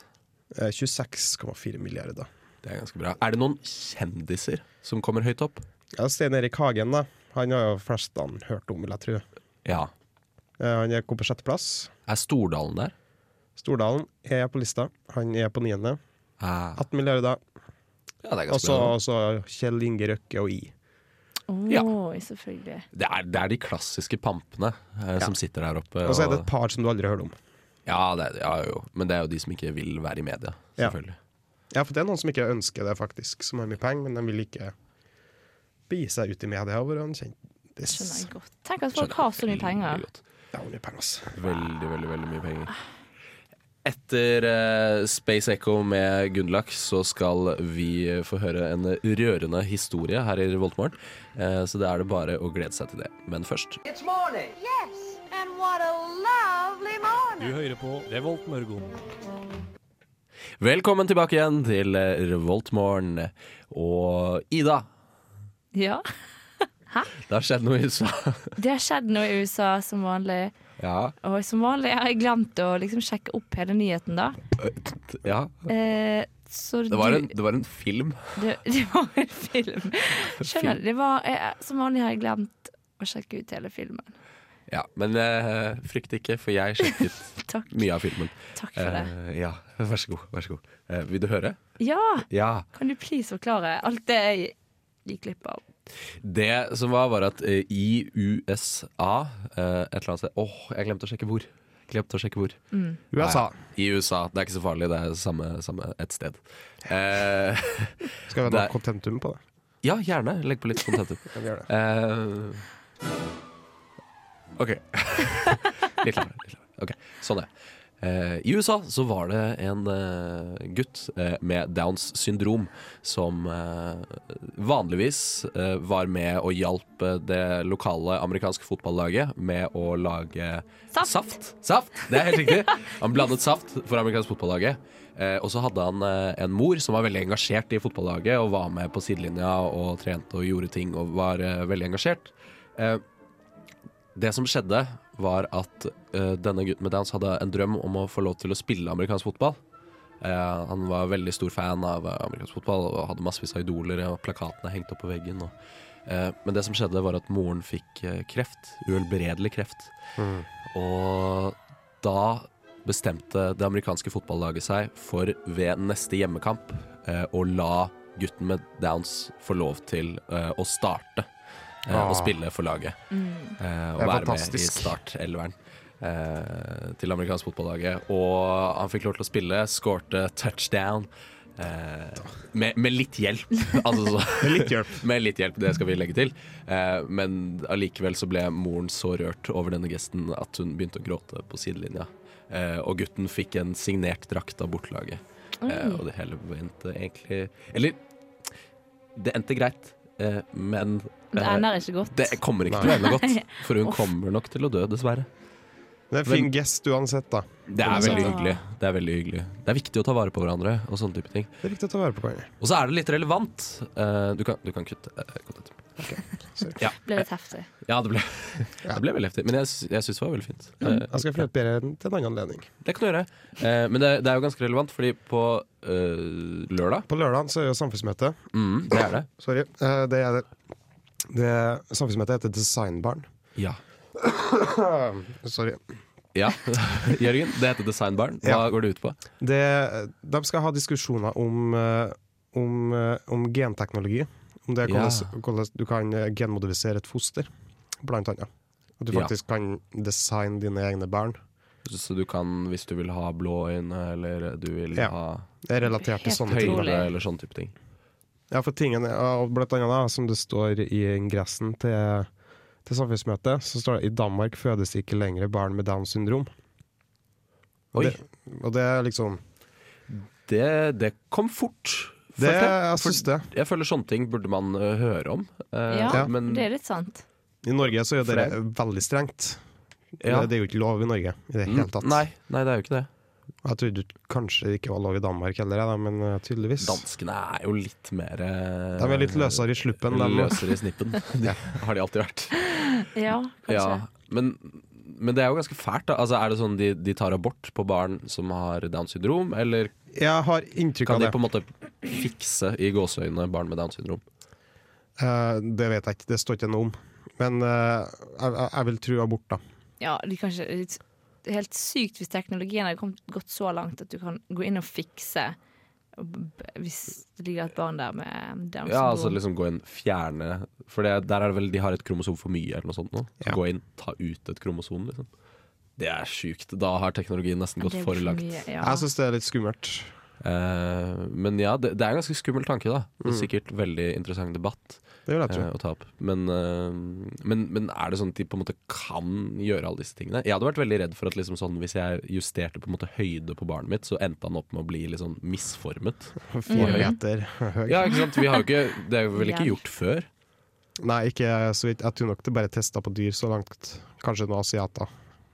Speaker 6: eh, 26,4 milliarder.
Speaker 2: Det er ganske bra. Er det noen kjendiser som kommer høyt opp?
Speaker 6: Ja, Stein Erik Hagen, da. Han har jo flest han hørt om, vil jeg tro.
Speaker 2: Ja.
Speaker 6: Eh, Han er- kom på sjetteplass.
Speaker 2: Er Stordalen der?
Speaker 6: Stordalen er på lista. Han er på niende.
Speaker 2: Ah.
Speaker 6: 18 milliarder.
Speaker 2: Ja, det er
Speaker 6: Og
Speaker 2: ganske bra. da.
Speaker 6: så Kjell Inge Røkke og I.
Speaker 5: Oi,
Speaker 2: Ja.
Speaker 5: selvfølgelig.
Speaker 2: Det er, det er de klassiske pampene eh, som sitter der oppe.
Speaker 6: Og så er det et par som du aldri har hørt om.
Speaker 2: Ja, det, er- ja, jo. Men det er jo de som ikke vil være i media,
Speaker 6: Ja.
Speaker 2: selvfølgelig.
Speaker 6: Ja, for det er noen som ikke ønsker det, faktisk. Som har mye penger, men de vil ikke begi seg ut i media og være en
Speaker 5: Skjønner
Speaker 6: kjendis.
Speaker 5: jeg godt. Tenk at folk har så mye penger.
Speaker 2: Veldig godt.
Speaker 6: Ja, mye penger, ass.
Speaker 2: Veldig, veldig, veldig mye penger. Etter eh, Space Echo med Gunnlach så skal vi få høre en rørende historie her i Revoltmorgen. Eh, så da er det bare å glede seg til det. Men først
Speaker 7: Yes, and what a lovely morning.
Speaker 2: Velkommen tilbake igjen til eh, Revoltmorgen. Og Ida,
Speaker 5: Ja.
Speaker 2: det har skjedd noe i USA.
Speaker 5: Det har skjedd noe i USA som vanlig.
Speaker 2: ja.
Speaker 5: Og som vanlig har jeg glemt å liksom sjekke opp hele nyheten, da.
Speaker 2: ja.
Speaker 5: Eh, så
Speaker 2: Det var,
Speaker 5: du-
Speaker 2: en, det var en film.
Speaker 5: Det, det var en film. Skjønner du. Det var, jeg, som vanlig har jeg glemt å sjekke ut hele filmen.
Speaker 2: Ja, Men eh, frykt ikke, for jeg sjekket
Speaker 5: Takk,
Speaker 2: mye av filmen.
Speaker 5: takk for det.
Speaker 2: Eh, ja, Vær så god. vær så god Eh, Vil du høre?
Speaker 5: Ja!
Speaker 2: Ja.
Speaker 5: Kan du please forklare alt det jeg gikk glipp av?
Speaker 2: Det som var, var at eh, i USA eh, Et eller annet sted Åh, jeg glemte å sjekke hvor. Glemte å sjekke hvor.
Speaker 6: USA.
Speaker 2: Nei, I USA. Det er ikke så farlig, det er samme, samme et sted. Eh,
Speaker 6: Skal vi ha
Speaker 2: Det-
Speaker 6: noe contentum på det?
Speaker 2: ja, gjerne. Legg på litt kontentum.
Speaker 6: Kan vi gjøre det?
Speaker 2: Eh, OK. litt lavere. Litt lavere. Ok, Sånn er det. Eh, I USA så var det en eh, gutt eh, med Downs syndrom som eh, vanligvis eh, var med og hjalp eh, det lokale amerikanske fotballaget med å lage
Speaker 5: Saft.
Speaker 2: saft. Saft, Det er helt riktig. Han blandet saft for amerikansk fotballaget. Eh, og så hadde han eh, en mor som var veldig engasjert i fotballaget og var med på sidelinja og trente og gjorde ting og var eh, veldig engasjert. Eh, Eh, det som skjedde, var at eh, denne gutten med downs hadde en drøm om å få lov til å spille amerikansk fotball. Eh, han var veldig stor fan av eh, amerikansk fotball og hadde massevis av idoler og plakatene hengt opp på veggen. Og, eh, men det som skjedde, var at moren fikk eh, kreft. Uhelbredelig kreft. Og da bestemte det amerikanske fotballaget seg for ved neste hjemmekamp eh, å la gutten med downs få lov til eh, å starte eh,
Speaker 6: Ah.
Speaker 2: å spille for laget. Eh, og
Speaker 6: Det er
Speaker 2: være med i
Speaker 6: fantastisk.
Speaker 2: startelveren eh, til amerikansk fotballaget. Og han fikk lov til å spille, skårte touchdown. Eh, med, med litt hjelp. Altså, så,
Speaker 6: Med litt hjelp.
Speaker 2: med litt hjelp, det skal vi legge til. Eh, men allikevel så ble moren så rørt over denne gesten at hun begynte å gråte på sidelinja. Eh, og gutten fikk en signert drakt av bortelaget.
Speaker 5: Mm.
Speaker 2: Eh, og det hele endte egentlig Eller, det endte greit, eh, men
Speaker 5: Det
Speaker 2: eh,
Speaker 5: ender ikke godt.
Speaker 2: det kommer ikke til å ende godt, for hun kommer nok til å dø, dessverre.
Speaker 6: Det er en fin gest uansett, da.
Speaker 2: Det er veldig hyggelig. Det er veldig hyggelig Det er viktig å ta vare på hverandre og sånne type ting.
Speaker 6: Det er viktig å ta vare på hverandre.
Speaker 2: Og så er det litt relevant. Eh, du, kan, du kan kutte. eh, kontent.
Speaker 5: Ble litt heftig.
Speaker 2: Ja, det ble, det ble veldig heftig, men jeg, sy- jeg syns det var veldig fint. Eh,
Speaker 6: Jeg skal følge opp bedre til en annen anledning.
Speaker 2: det kan du gjøre. Eh, men det, det er jo ganske relevant, fordi på eh, lørdag
Speaker 6: På lørdag så er jo samfunnsmøte.
Speaker 2: mm, Det er det.
Speaker 6: Sorry. Eh, Det er det. det samfunnsmøtet heter Designbarn.
Speaker 2: Ja.
Speaker 6: Sorry.
Speaker 2: ja. Jørgen, det heter Designbarn. Hva
Speaker 6: Ja.
Speaker 2: går det ut på?
Speaker 6: Det, de skal ha diskusjoner om, eh, om, eh, om genteknologi. Om det er
Speaker 2: Ja.
Speaker 6: hvordan, hvordan du kan eh, genmodifisere et foster, blant annet. At du
Speaker 2: Ja.
Speaker 6: faktisk kan designe dine egne barn.
Speaker 2: Så du kan, hvis du vil ha blå øyne, eller du vil
Speaker 6: Ja.
Speaker 2: ha
Speaker 6: Det er relatert til
Speaker 5: Helt
Speaker 6: sånne ting. da.
Speaker 2: høyere,
Speaker 5: Utrolig.
Speaker 2: eller sånne type ting.
Speaker 6: Ja, for tingen, er- og blant annet da, som det står i ingressen til, til samfunnsmøtet, så står det i Danmark fødes ikke lenger barn med Downs syndrom. Og
Speaker 2: Oi.
Speaker 6: det, og det er liksom
Speaker 2: Det, det kom fort.
Speaker 6: Det,
Speaker 2: følte jeg.
Speaker 6: jeg
Speaker 2: For-
Speaker 6: synes det.
Speaker 2: Jeg føler sånne ting burde man ø, høre om. Eh,
Speaker 5: Ja,
Speaker 2: men
Speaker 5: det er litt sant.
Speaker 6: I Norge så er
Speaker 2: For
Speaker 6: det veldig strengt.
Speaker 2: ja.
Speaker 6: Det, det er jo ikke lov i Norge i det hele tatt.
Speaker 2: Mm, Nei, nei, det er jo ikke det.
Speaker 6: Jeg trodde kanskje det ikke var lov i Danmark heller, jeg da, men eh, tydeligvis.
Speaker 2: Danskene er jo litt mer eh,
Speaker 6: De er litt løsere i sluppen. De.
Speaker 2: løsere i snippen. De, har de alltid vært.
Speaker 5: Ja, kanskje.
Speaker 2: Ja, men, men det er jo ganske fælt. Da. Altså, er det sånn de, de tar abort på barn som har Downs syndrom, eller
Speaker 6: Jeg har inntrykk
Speaker 2: kan
Speaker 6: av
Speaker 2: de
Speaker 6: det.
Speaker 2: på en måte fikse i gåseøynene barn med Downs syndrom?
Speaker 6: Eh, det vet jeg ikke, det står ikke noe om. Men eh, jeg, jeg jeg vil tro abort, da.
Speaker 5: Ja, de kan ikke Det er helt sykt hvis teknologien har kommet, gått så langt at du kan gå inn og fikse hvis det ligger et barn der med Downs
Speaker 2: Ja, altså
Speaker 5: syndrom.
Speaker 2: liksom gå inn, fjerne For det, der er det vel de har et kromosom for mye eller noe sånt nå. Så
Speaker 6: Ja.
Speaker 2: gå inn, ta ut et kromosom, liksom. Det er sjukt. Da har teknologien nesten gått
Speaker 5: Det er
Speaker 2: for langt.
Speaker 5: mye, ja.
Speaker 6: Jeg syns det er litt skummelt.
Speaker 2: Eh, men ja, det, det er en ganske skummel tanke, da. Det er
Speaker 6: Mm.
Speaker 2: sikkert veldig interessant debatt
Speaker 6: Det vil jeg tro.
Speaker 2: eh, å ta opp. Men, eh, men, men er det sånn at de på en måte kan gjøre alle disse tingene? Jeg hadde vært veldig redd for at liksom sånn, hvis jeg justerte på en måte høyde på barnet mitt, så endte han opp med å bli litt sånn misformet.
Speaker 5: Mm.
Speaker 6: Fire meter høy.
Speaker 2: Ja, ikke sant? Vi har jo ikke, det er jo vel ikke
Speaker 5: Ja.
Speaker 2: gjort før.
Speaker 6: Nei, ikke så vidt. Jeg tror nok det bare er testa på dyr så langt. Kanskje noen asiater.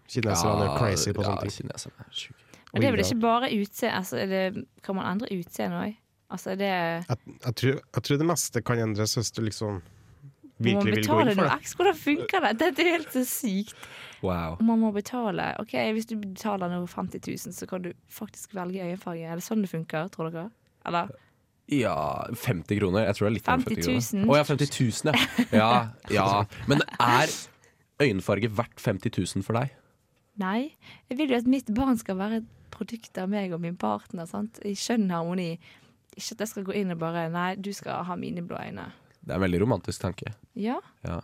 Speaker 6: Kineserne er crazy på sånne ting.
Speaker 2: kineserne er sjuke.
Speaker 5: Men det er vel
Speaker 6: Weirdo.
Speaker 5: ikke bare utseende? Altså, er det, kan man endre utseende òg? Altså, er det
Speaker 6: Jeg, jeg, tror, jeg tror det meste kan endres hvis du
Speaker 5: Må
Speaker 6: liksom
Speaker 5: man
Speaker 6: virkelig vil gå
Speaker 5: betale
Speaker 6: inn for
Speaker 5: noe
Speaker 6: det.
Speaker 5: ekstra? Hvordan funker det? Dette er helt så sykt.
Speaker 2: Wow.
Speaker 5: Man må betale. Ok, Hvis du betaler noe 50 000, så kan du faktisk velge øyefarge. Er det sånn det funker, tror dere? Eller?
Speaker 2: Ja, 50 kroner. Jeg tror det er litt
Speaker 5: 50
Speaker 2: over
Speaker 5: 000.
Speaker 2: 50 kroner. Å ja, 50 000, ja. ja. Ja, Men er øyenfarge verdt 50 000 for deg?
Speaker 5: Nei. Jeg vil jo at mitt barn skal være et produkt av meg og min partner. sant? I skjønn harmoni. Ikke at jeg skal gå inn og bare Nei, du skal ha mine blå øyne.
Speaker 2: Det er en veldig romantisk tanke.
Speaker 5: Ja.
Speaker 2: Ja.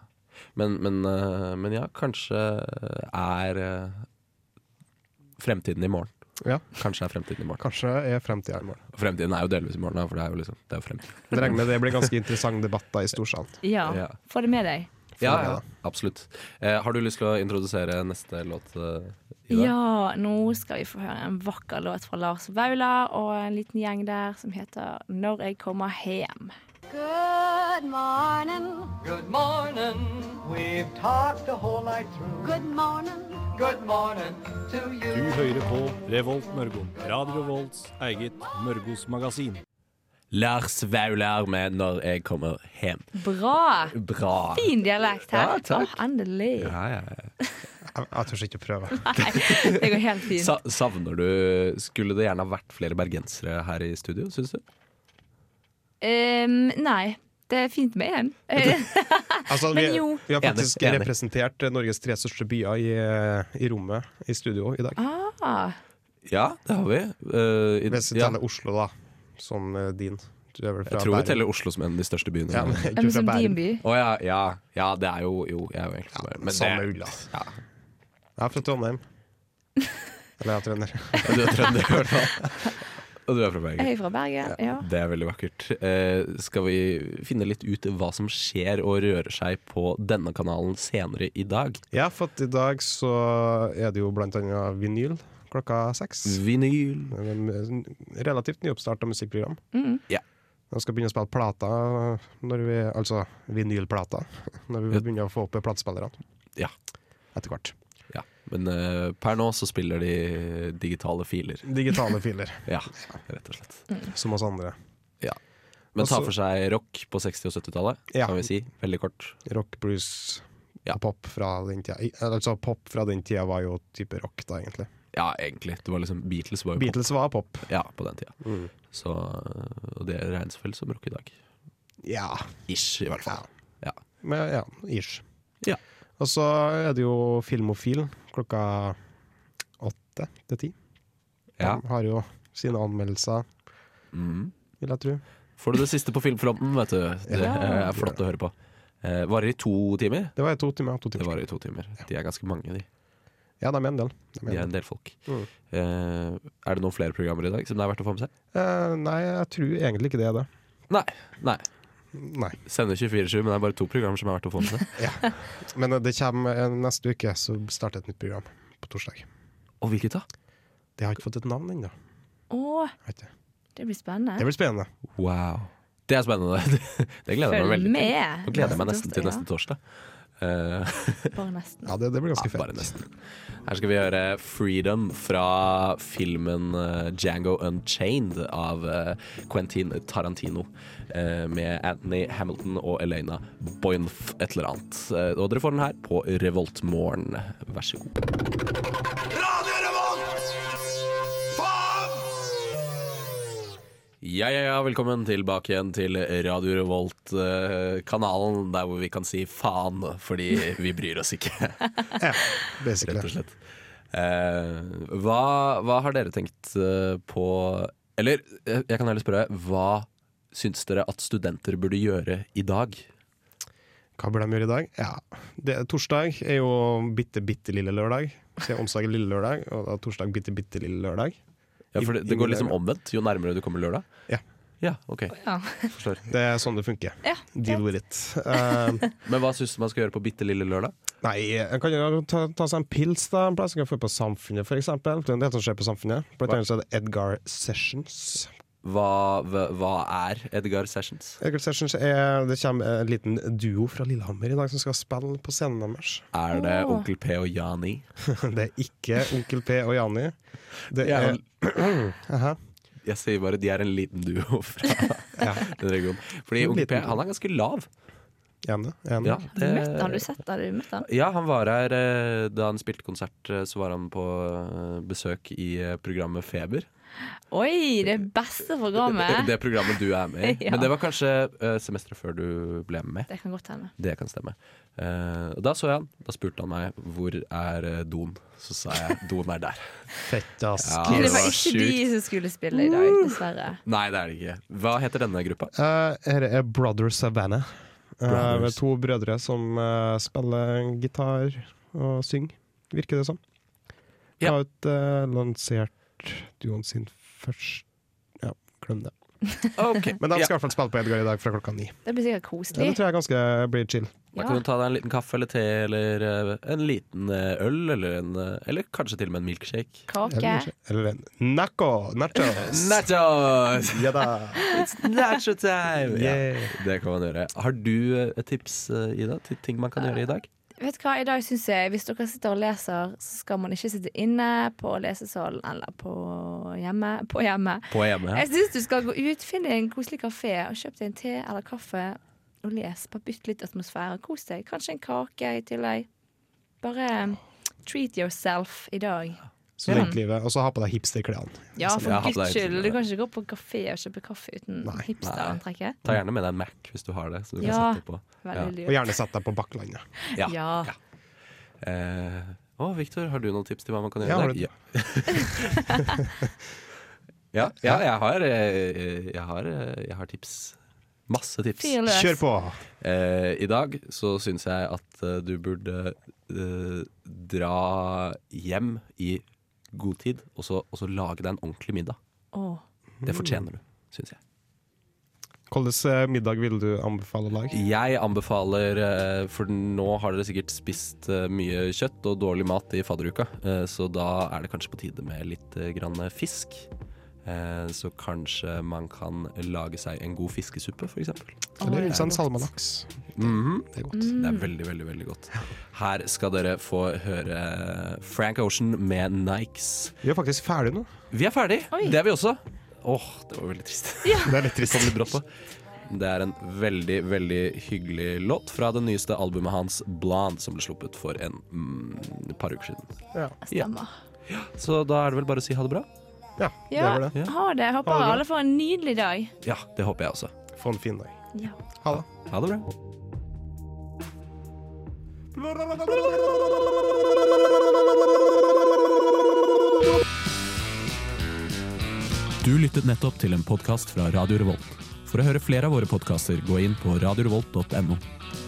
Speaker 2: Men, men, eh, men ja, kanskje er eh, fremtiden i morgen.
Speaker 6: Ja.
Speaker 2: Kanskje er fremtiden i morgen.
Speaker 6: Kanskje er fremtida i morgen.
Speaker 2: Og Fremtiden er jo delvis i morgen, da, for det er jo liksom det er jo fremtiden.
Speaker 6: Jeg regner med det blir ganske interessante debatter i storsalen.
Speaker 5: ja.
Speaker 2: Ja.
Speaker 5: Få det med deg.
Speaker 2: Ja,
Speaker 6: det,
Speaker 2: ja, absolutt. Eh, har du lyst til å introdusere neste låt? eh, Ida?
Speaker 5: Ja, nå skal vi få høre en vakker låt fra Lars Vaular og en liten gjeng der som heter 'Når jeg kommer hjem'.
Speaker 7: Good morning.
Speaker 9: Good morning. We've talked the whole night through.
Speaker 7: Good morning.
Speaker 9: Good morning to you.
Speaker 10: Du hører på Revolt Mørgo. Radio Revolts eget Mørgos magasin.
Speaker 2: Lars Vaular med 'Når jeg kommer hjem'.
Speaker 5: Bra!
Speaker 2: Bra.
Speaker 5: Fin dialekt her.
Speaker 2: Ja, takk.
Speaker 5: Å, endelig.
Speaker 2: Ja, ja, ja.
Speaker 6: Jeg, jeg tør ikke å prøve.
Speaker 5: Det går helt fint.
Speaker 2: Sa savner du Skulle det gjerne ha vært flere bergensere her i studio, syns du?
Speaker 5: Ehm, nei, det er fint med en.
Speaker 6: Altså, vi,
Speaker 5: Men jo.
Speaker 6: vi har
Speaker 2: Enig,
Speaker 6: faktisk
Speaker 2: enig.
Speaker 6: representert eh, Norges tre største byer i, eh, i rommet i studio i dag.
Speaker 5: Ah,
Speaker 2: Ja, det har vi. Eh, i-
Speaker 6: Hvis vi
Speaker 2: ja.
Speaker 6: teller Oslo, da, som eh, din. Du er vel fra
Speaker 2: Jeg tror vi
Speaker 6: Bærum.
Speaker 2: teller Oslo som en av de største byene. i
Speaker 6: ja, men,
Speaker 2: landet.
Speaker 6: ikke
Speaker 5: men
Speaker 6: fra
Speaker 5: som din
Speaker 6: Bærum.
Speaker 5: by.
Speaker 2: Å ja, ja, ja, det er jo Jo, jeg er jo egentlig fra Bærum, men
Speaker 6: samme
Speaker 2: det-
Speaker 6: ulla.
Speaker 2: Ja.
Speaker 6: Jeg er fra Trondheim. Eller jeg er trønder.
Speaker 2: Og du er trønder, i hvert fall. Og du er fra Bergen.
Speaker 5: Jeg er fra Bergen. Ja.
Speaker 2: Det er veldig vakkert. Eh, skal vi finne litt ut hva som skjer og rører seg på denne kanalen senere i dag?
Speaker 6: Ja, for at i dag så er det jo blant annet vinyl klokka seks.
Speaker 2: Mm. Vinyl.
Speaker 6: Det er en Relativt nyoppstarta musikkprogram.
Speaker 5: Mm.
Speaker 2: Ja.
Speaker 6: De skal begynne å spille plater, når vi, altså vinylplater, når vi begynner å få opp platespillerne.
Speaker 2: Ja.
Speaker 6: Etter hvert.
Speaker 2: Ja. Men eh, per nå så spiller de digitale filer.
Speaker 6: Digitale filer,
Speaker 2: Ja, rett og slett.
Speaker 6: som oss andre.
Speaker 2: Men tar
Speaker 6: Også-
Speaker 2: for seg rock på 60- og 70-tallet,
Speaker 6: Ja.
Speaker 2: kan vi si. Veldig kort.
Speaker 6: Rock, blues
Speaker 2: Ja.
Speaker 6: og pop fra den tida. I- Altså, pop fra den tida var jo type rock, da, egentlig.
Speaker 2: Ja, egentlig. Det var liksom Beatles var jo
Speaker 6: Beatles var pop.
Speaker 2: pop ja, på den tida.
Speaker 6: Mm.
Speaker 2: Så eh, og det regnes vel som rock i dag.
Speaker 6: Ja.
Speaker 2: Ish, i hvert fall. Ja.
Speaker 6: Men, ja, ish.
Speaker 2: Ja.
Speaker 6: Og så er det jo Filmofil klokka åtte til ti.
Speaker 2: Ja.
Speaker 6: De har jo sine anmeldelser,
Speaker 2: Mm.
Speaker 6: vil jeg tro.
Speaker 2: Får du det siste på filmfronten, vet du. Det
Speaker 6: Ja.
Speaker 2: eh, er flott å høre på. Eh, Varer i to timer.
Speaker 6: Det var i to timer. To
Speaker 2: Det
Speaker 6: timer.
Speaker 2: varer i to timer. De er ganske mange, de.
Speaker 6: Ja, de er en del. De
Speaker 2: De
Speaker 6: er
Speaker 2: er
Speaker 6: en del.
Speaker 2: en del folk.
Speaker 6: Mm.
Speaker 2: Eh, er det noen flere programmer i dag som det er verdt å få med seg?
Speaker 6: Eh, nei, jeg tror egentlig ikke det er det.
Speaker 2: Nei. nei.
Speaker 6: Nei.
Speaker 2: Sender 24-7, men det er bare to programmer som er verdt å få med seg.
Speaker 6: Men eh, det kommer eh, neste uke, så starter et nytt program på torsdag.
Speaker 2: Og hvilket da?
Speaker 6: Det har ikke fått et navn ennå.
Speaker 5: Å,
Speaker 6: vet du.
Speaker 5: det blir
Speaker 6: Det
Speaker 5: spennende.
Speaker 6: blir spennende.
Speaker 2: Wow. Det er spennende. Det gleder jeg meg
Speaker 5: Følg
Speaker 2: veldig til.
Speaker 5: med.
Speaker 2: Nå gleder jeg meg nesten til
Speaker 5: Ja,
Speaker 2: neste torsdag. Eh,
Speaker 5: Bare nesten.
Speaker 6: Ja, det, det blir ganske
Speaker 2: ja, bare
Speaker 6: fett.
Speaker 2: nesten. Her skal vi høre 'Freedom' fra filmen eh, 'Django Unchained' av eh, Quentin Tarantino. eh, Med Anthony Hamilton og Elena Boynf et eller annet. Eh, Og dere får den her på Revoltmorgen. Vær så god. Ja, ja, ja, velkommen tilbake igjen til Radio Revolt-kanalen, der hvor vi kan si faen, fordi vi bryr oss ikke.
Speaker 6: Ja, basically.
Speaker 2: rett og slett. Eh, hva, hva har dere tenkt eh, på Eller eh, jeg kan heller spørre, hva syns dere at studenter burde gjøre i dag?
Speaker 6: Hva burde de gjøre i dag? Ja, det, Torsdag er jo bitte, bitte lille lørdag. Så er onsdag lille lørdag, og da er torsdag bitte, bitte lille lørdag.
Speaker 2: Ja, for det, det går liksom omvendt jo nærmere du kommer lørdag.
Speaker 6: Ja.
Speaker 2: Ja, ok,
Speaker 5: Ja.
Speaker 2: forstår
Speaker 6: Det er sånn det funker.
Speaker 5: Ja,
Speaker 6: Deal with it. Eh,
Speaker 2: Men hva syns du man skal gjøre på bitte lille lørdag?
Speaker 6: nei, en kan jo ta, ta seg en pils da, en plass. En kan få på Samfunnet, for eksempel. Det er en del som skjer på Samfunnet. Blant annet så er det Edgar Sessions.
Speaker 2: Hva, hva, hva er Edgar Sessions?
Speaker 6: Edgar Sessions er, Det kommer en liten duo fra Lillehammer i dag som skal spille på scenen deres.
Speaker 2: Er det
Speaker 5: Åh.
Speaker 2: Onkel P og Jani?
Speaker 6: Det er ikke Onkel P og Jani. Det
Speaker 2: Ja,
Speaker 6: er Aha.
Speaker 2: Jeg sier bare de er en liten duo fra
Speaker 6: Ja.
Speaker 2: den regionen. Fordi Onkel P
Speaker 6: Liten.
Speaker 2: han er ganske lav.
Speaker 6: Jani. Jani.
Speaker 2: Ja,
Speaker 5: Har du møtt han? Har du sett han? Har du møtt han?
Speaker 2: Ja, han var her eh, da han spilte konsert. eh, Så var han på eh, besøk i eh, programmet Feber.
Speaker 5: Oi, det beste
Speaker 2: Det,
Speaker 5: programmet!
Speaker 2: det programmet du er med i.
Speaker 5: Ja.
Speaker 2: Men det var kanskje eh, semesteret før du ble med.
Speaker 5: Det kan godt hende.
Speaker 2: Det kan stemme. Eh, og da så jeg han. Da spurte han meg hvor er eh, doen. Så sa jeg doen er der.
Speaker 6: Fett, ass.
Speaker 2: Ja, Ah,
Speaker 5: Det
Speaker 2: var
Speaker 5: var ikke
Speaker 2: sjukt.
Speaker 5: de som skulle spille i dag, dessverre.
Speaker 2: Nei, det er det ikke. Hva heter denne gruppa?
Speaker 6: Eh, Her er Brother Savannah. Eh,
Speaker 2: Brothers.
Speaker 6: med to brødre som eh, spiller gitar og synger, virker det som.
Speaker 2: Ja.
Speaker 6: Har ut, eh, lansert duoen sin først Ja, glem det.
Speaker 2: Ok,
Speaker 6: Men de
Speaker 2: ja.
Speaker 6: skal i hvert fall spille på Edgar i dag fra klokka ni.
Speaker 5: Det blir sikkert
Speaker 6: Ja, det
Speaker 5: koselig.
Speaker 6: tror jeg ganske blir chill.
Speaker 2: Da
Speaker 5: Ja.
Speaker 2: kan du ta deg en liten kaffe eller te eller eh, en liten eh, øl eller, en, eh, eller kanskje til og med en milkshake.
Speaker 5: Kake.
Speaker 6: Eller, eller en naco, nachos!
Speaker 2: Nachos!
Speaker 6: ja da!
Speaker 2: Nacho time!
Speaker 6: Yeah.
Speaker 2: Ja, det kan man gjøre. Har du eh, et tips, eh, Ida, til ting man kan gjøre i dag?
Speaker 5: Vet du hva, I dag syns jeg hvis dere sitter og leser, så skal man ikke sitte inne på lesesalen eller på hjemme. På hjemme.
Speaker 2: På hjemme.
Speaker 5: Jeg syns du skal gå ut, finne en koselig kafé og kjøp deg en te eller kaffe og les. Bare bytt litt atmosfære. Kos deg. Kanskje en kake i tillegg. Bare treat yourself i dag.
Speaker 6: Studentlivet. Og så ha på deg hipsterklærne.
Speaker 5: Ja, for
Speaker 2: Jeg har hatt
Speaker 5: guds
Speaker 2: det hele
Speaker 5: skyld.
Speaker 2: tiden.
Speaker 5: Du kan ikke gå på kafé og kjøpe kaffe uten
Speaker 6: Nei.
Speaker 5: hipsterantrekket.
Speaker 2: Ta gjerne med deg en Mac hvis du har det, så du
Speaker 5: Ja.
Speaker 2: kan sette på.
Speaker 5: Veldig
Speaker 6: Og
Speaker 5: lurt.
Speaker 6: gjerne sett deg på Bakklandet.
Speaker 2: Ja.
Speaker 5: Ja.
Speaker 2: Eh, å, Victor, har du noen tips til hva man kan
Speaker 6: Ja,
Speaker 2: gjøre i dag?
Speaker 6: har du-
Speaker 2: Ja. ja, ja, jeg har, eh, jeg har, eh, jeg har tips. Masse tips.
Speaker 5: Fyr løs.
Speaker 6: Kjør på!
Speaker 2: Eh, I dag så syns jeg at eh, du burde eh, dra hjem i god tid, og så, og så lage deg en ordentlig middag.
Speaker 5: Åh.
Speaker 2: Det fortjener du, syns jeg.
Speaker 6: Hvilken eh, middag vil du anbefale å lage?
Speaker 2: Jeg anbefaler, eh, for nå har dere sikkert spist eh, mye kjøtt og dårlig mat i fadderuka, eh, så da er det kanskje på tide med litt eh, grann fisk. Eh, Så kanskje man kan lage seg en god fiskesuppe, f.eks.
Speaker 6: Eller sånn vil du si en salmalaks? Det er godt.
Speaker 2: Det er veldig, veldig veldig godt. Her skal dere få høre eh, Frank Ocean med Nikes.
Speaker 6: Vi er faktisk ferdig nå.
Speaker 2: Vi er ferdig!
Speaker 5: Oi.
Speaker 2: Det er vi også. Åh, det var veldig trist.
Speaker 6: Det er litt trist.
Speaker 2: kom litt brått på. Det er en veldig, veldig hyggelig låt fra det nyeste albumet hans, Blonde, som ble sluppet for en mm, par uker siden.
Speaker 5: Stemmer.
Speaker 2: Så da er det vel bare å si ha det bra.
Speaker 6: Ja, det
Speaker 5: Ja.
Speaker 6: var det.
Speaker 2: Ja.
Speaker 5: Ha det. Håper
Speaker 6: Ha det bra.
Speaker 5: alle får en nydelig dag.
Speaker 2: Ja, det håper jeg også.
Speaker 6: Få en fin dag.
Speaker 5: Ja.
Speaker 6: Ha det.
Speaker 2: Ha det bra.
Speaker 10: Du lyttet nettopp til en podkast fra Radio Revolt. For å høre flere av våre podkaster, gå inn på radiorevolt.no.